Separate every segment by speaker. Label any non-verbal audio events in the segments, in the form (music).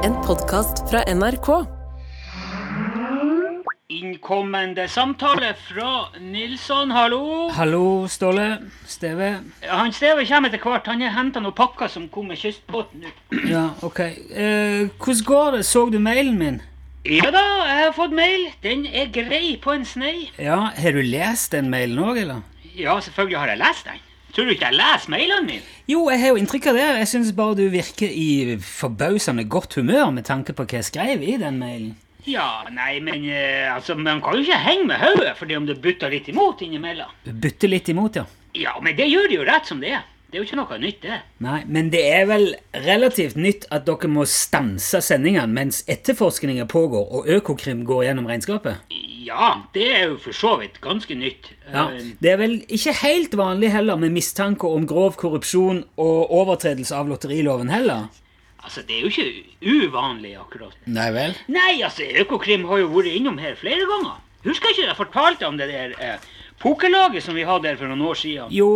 Speaker 1: podkast fra NRK.
Speaker 2: Innkommende samtale fra Nilsson, hallo.
Speaker 3: Hallo, Ståle. Steve.
Speaker 2: Han Steve kommer etter hvert. Han har henta noen pakker som kom med kystbåten ut.
Speaker 3: Ja, ok. Eh, hvordan går det? Så du mailen min?
Speaker 2: Ja da, jeg har fått mail. Den er grei på en snei.
Speaker 3: Ja, Har du lest den mailen òg, eller?
Speaker 2: Ja, selvfølgelig har jeg lest den. Tror du ikke jeg leser mailene mine?
Speaker 3: Jo, jeg har jo inntrykk av det. Jeg syns bare du virker i forbausende godt humør med tanke på hva jeg skrev i den mailen.
Speaker 2: Ja, nei, men eh, altså, man kan jo ikke henge med hodet fordi om det butter litt imot innimellom.
Speaker 3: Du bytter litt imot, ja.
Speaker 2: Ja, men det gjør det jo rett som det er. Det er jo ikke noe nytt, det.
Speaker 3: Nei, men det er vel relativt nytt at dere må stanse sendingene mens etterforskninga pågår og Økokrim går gjennom regnskapet?
Speaker 2: Ja, det er jo for så vidt ganske nytt.
Speaker 3: Ja,
Speaker 2: Eh,
Speaker 3: Det er vel ikke helt vanlig heller med mistanke om grov korrupsjon og overtredelse av lotteriloven heller?
Speaker 2: altså, det er jo ikke uvanlig akkurat.
Speaker 3: Nei vel?
Speaker 2: Nei, altså, Økokrim har jo vært innom her flere ganger. Husker ikke jeg fortalte om det der eh, pokerlaget som vi hadde her for noen år siden?
Speaker 3: Jo,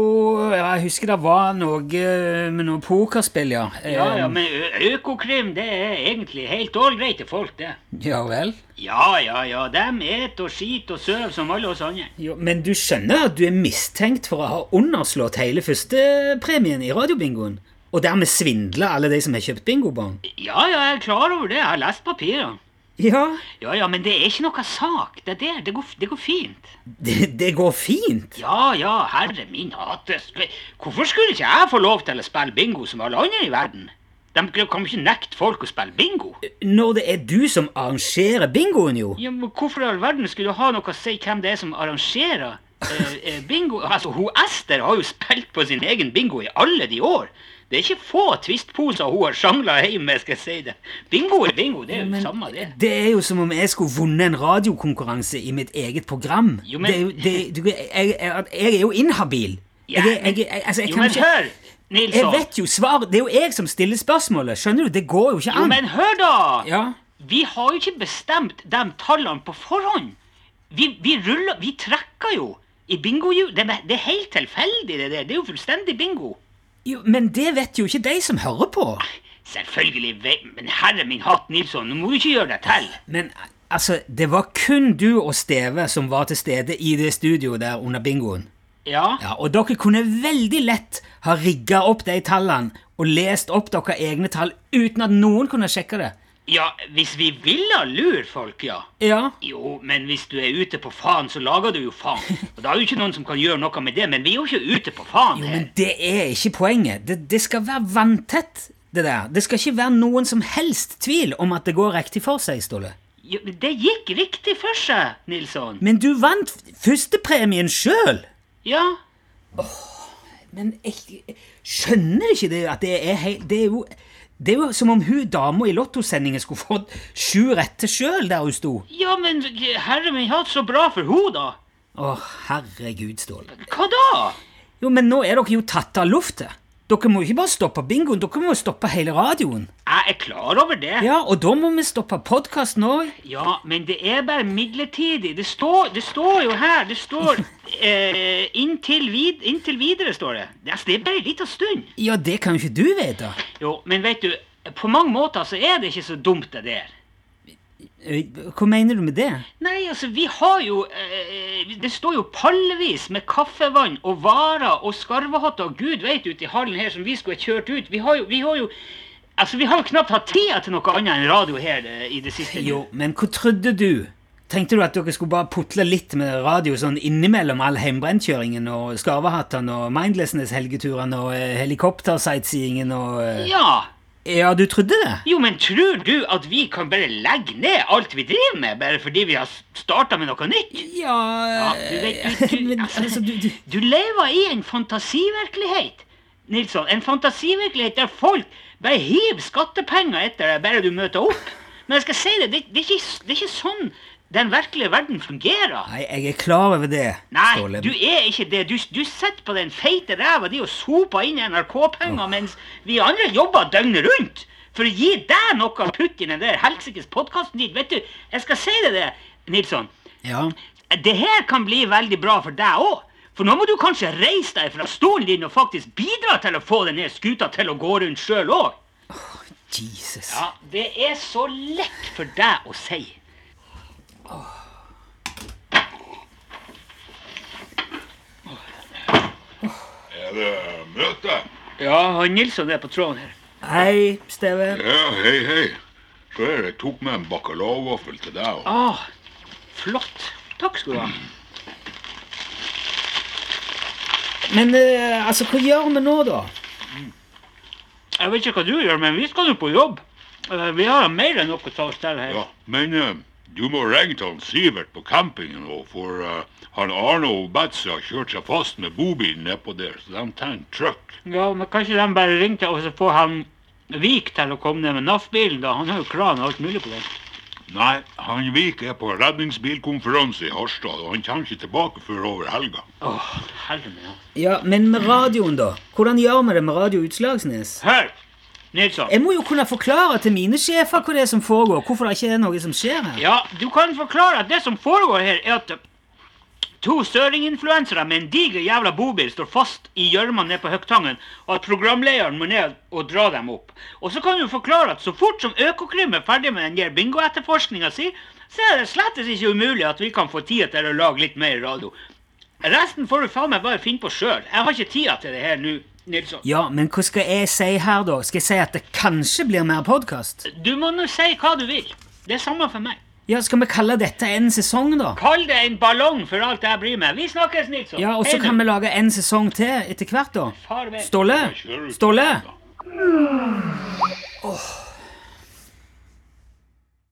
Speaker 3: ja, jeg husker det var noe eh, med noe pokerspill, ja.
Speaker 2: Ja, ja,
Speaker 3: Eh,
Speaker 2: men Ø- Økokrim det er egentlig helt ålreite folk, det.
Speaker 3: ja vel?
Speaker 2: Ja, ja, ja, dem et og skit og søv som alle oss andre.
Speaker 3: Jo, men du skjønner at du er mistenkt for å ha underslått hele førstepremien i radiobingoen? Og dermed svindla alle de som har kjøpt bingobong?
Speaker 2: Ja, ja, jeg er klar over det. Jeg har lest papirene.
Speaker 3: Ja,
Speaker 2: Ja, ja, men det er ikke noe sak. Det der, det går, det går fint.
Speaker 3: det, det går fint.
Speaker 2: Ja, ja, herre min hattes. Hvorfor skulle ikke jeg få lov til å spille bingo som alle andre i verden? De kan ikke nekte folk å spille bingo.
Speaker 3: Når det er du som arrangerer bingoen, jo.
Speaker 2: Ja, men Hvorfor i all verden skulle du ha noe å si hvem det er som arrangerer eh, eh, bingo? Altså, hun Ester har jo spilt på sin egen bingo i alle de år. Det er ikke få twistposer hun har sjangla hjem med, skal jeg si det. Bingo er bingo, det er jo
Speaker 3: Men-
Speaker 2: samme det.
Speaker 3: Det er jo som om jeg skulle vunnet en radiokonkurranse i mitt eget program.
Speaker 2: Jo, men-
Speaker 3: det er jo, det, du, jeg, jeg, jeg er jo inhabil.
Speaker 2: Ja,
Speaker 3: jeg, er- jeg, jeg, altså, jeg
Speaker 2: Jo,
Speaker 3: kan
Speaker 2: men
Speaker 3: ikke-
Speaker 2: hør,
Speaker 3: Jeg
Speaker 2: Nilsson.
Speaker 3: vet jo svaret. Det er jo jeg som stiller spørsmålet. Skjønner du? Det går jo ikke
Speaker 2: Jo,
Speaker 3: an.
Speaker 2: men hør, da!
Speaker 3: Ja.
Speaker 2: Vi har jo ikke bestemt de tallene på forhånd. Vi, vi ruller Vi trekker jo i bingohjul. Det, er- det er helt tilfeldig, det der. Det er jo fullstendig bingo.
Speaker 3: Jo, men det vet jo ikke de som hører på.
Speaker 2: Selvfølgelig, vet- men herre min hatt, Nilsson, nå må du ikke gjøre deg til.
Speaker 3: Men altså, det var kun du og Steve som var til stede i det studioet der under bingoen.
Speaker 2: Ja,
Speaker 3: Ja, Og dere kunne veldig lett ha rigga opp de tallene og lest opp deres egne tall uten at noen kunne sjekke det.
Speaker 2: ja hvis vi ville lure folk, ja.
Speaker 3: Ja,
Speaker 2: Jo, men hvis du er ute på faen, så lager du jo faen.
Speaker 3: (laughs)
Speaker 2: Og da er jo ikke noen som kan gjøre noe med det, men vi er jo ikke ute på faen
Speaker 3: Jo,
Speaker 2: her.
Speaker 3: men det er ikke poenget. Det, det skal være vanntett, det der. Det skal ikke være noen som helst tvil om at det går riktig for seg, Ståle.
Speaker 2: Jo, men det gikk riktig for seg, Nilsson.
Speaker 3: Men du vant f- førstepremien sjøl!
Speaker 2: Ja,
Speaker 3: Men jeg skjønner ikke det at det er helt Det er jo det er jo som om hun dama i Lottosendingen skulle fått sju rette sjøl der hun sto.
Speaker 2: ja men herre min hatt, så bra for ho da.
Speaker 3: Å, herregud, Ståle.
Speaker 2: Hva da?
Speaker 3: Jo, men nå er dere jo tatt av lufta. Dere må jo ikke bare stoppe bingoen, dere må jo stoppe hele radioen.
Speaker 2: Jeg er klar over det.
Speaker 3: Ja, og da må vi stoppe podkasten òg.
Speaker 2: Ja, men det er bare midlertidig. Det står, det står jo her, det står eh, inntil, vid, inntil videre, står det. Det er bare en liten stund.
Speaker 3: Ja, det kan jo ikke du vite.
Speaker 2: Jo, men vet du, på mange måter så er det ikke så dumt det der.
Speaker 3: Eh, Hva mener du med det?
Speaker 2: Nei, altså, vi har jo eh, Det står jo pallevis med kaffevann og varer og skarvehatter og gud veit ute i hallen her som vi skulle ha kjørt ut. Vi har jo, vi har jo Altså, vi har jo knapt hatt tida til noe annet enn radio her eh, i det siste.
Speaker 3: Jo, men hva trodde du? Tenkte du at dere skulle bare putle litt med radio sånn innimellom all hjemmebrentkjøringen og skarvehattene og Mindlessness-helgeturene og eh, helikoptersightseeingen og eh,
Speaker 2: Ja.
Speaker 3: Ja, du trodde det?
Speaker 2: Jo, men tror du at vi kan bare legge ned alt vi driver med, bare fordi vi har starta med noe nytt?
Speaker 3: Ja,
Speaker 2: Ja, du vet, du, du,
Speaker 3: (laughs) men, altså, du, du
Speaker 2: du lever i en fantasivirkelighet, Nilsson. En fantasivirkelighet der folk bare hiver skattepenger etter deg bare du møter opp. Men jeg skal si det, det, det, er, ikke, det er ikke sånn den virkelige verden fungerer.
Speaker 3: Nei, jeg er klar over det,
Speaker 2: Nei,
Speaker 3: Ståle.
Speaker 2: du er ikke det. Du, du sitter på den feite ræva di og soper inn NRK-penger mens vi andre jobber døgnet rundt for å gi deg noe å putte i den der helsikes podkasten din. Vet du, jeg skal si deg det, Nilsson.
Speaker 3: Ja.
Speaker 2: Det her kan bli veldig bra for deg òg. For nå må du kanskje reise deg fra stolen din og faktisk bidra til å få denne skuta til å gå rundt sjøl òg.
Speaker 3: Jesus.
Speaker 2: Ja, det er så lett for deg å si.
Speaker 1: Er det møte?
Speaker 2: Ja, han Nilsson er på tråden her.
Speaker 3: Hei, Steve.
Speaker 1: Ja, hei, hei. Ser jeg tok med en bacalao-vaffel til deg. og-
Speaker 2: Å, flott. Takk skal du ha.
Speaker 3: Men eh, altså, hva gjør vi nå, da?
Speaker 2: Jeg vet ikke hva du gjør, men vi skal nå på jobb. Eh, Vi har mer enn nok å ta oss til her.
Speaker 1: Ja, men eh, du må ringe til han Sivert på campingen nå, for eh, han Arne og Betzy har kjørt seg fast med bobilen nedpå der, så de trenger truck.
Speaker 2: Ja, men kanskje de bare ringte og så får han Vik til å komme ned med NAF-bilen, da. Han har jo kran og alt mulig på den.
Speaker 1: Nei, han Vik er på redningsbilkonferanse i Harstad, og han kommer ikke tilbake før over helga.
Speaker 2: Åh, herre min hatt.
Speaker 3: Ja, Men med radioen, da? Hvordan gjør vi det med Radio Utslagsnes?
Speaker 2: Hør, Nilsson.
Speaker 3: Jeg må jo kunne forklare til mine sjefer hva det er som foregår. Hvorfor det ikke er noe som skjer her.
Speaker 2: Ja, du kan forklare at det som foregår her, er at to søringinfluensere med en diger jævla bobil står fast i gjørma nede på Høgtangen, og at programlederen må ned og dra dem opp. Og så kan du forklare at så fort som Økokrim er ferdig med den der bingoetterforskninga si, så er det slettes ikke umulig at vi kan få tida til å lage litt mer radio. Resten får du faen meg bare finne på sjøl. Jeg har ikke tida til det her nå, Nilsson.
Speaker 3: Ja, men hva skal jeg si her, da? Skal jeg si at det kanskje blir mer podkast?
Speaker 2: Du må nå si hva du vil. Det er samme for meg.
Speaker 3: Ja, skal vi kalle dette en sesong, da?
Speaker 2: Kall det en ballong for alt jeg bryr meg. Vi snakkes, Nilsson.
Speaker 3: Ja, og så
Speaker 2: Hei
Speaker 3: kan
Speaker 2: nå.
Speaker 3: vi lage en sesong
Speaker 2: né?
Speaker 3: til etter hvert, da.
Speaker 2: Farvel.
Speaker 3: Ståle? Ståle?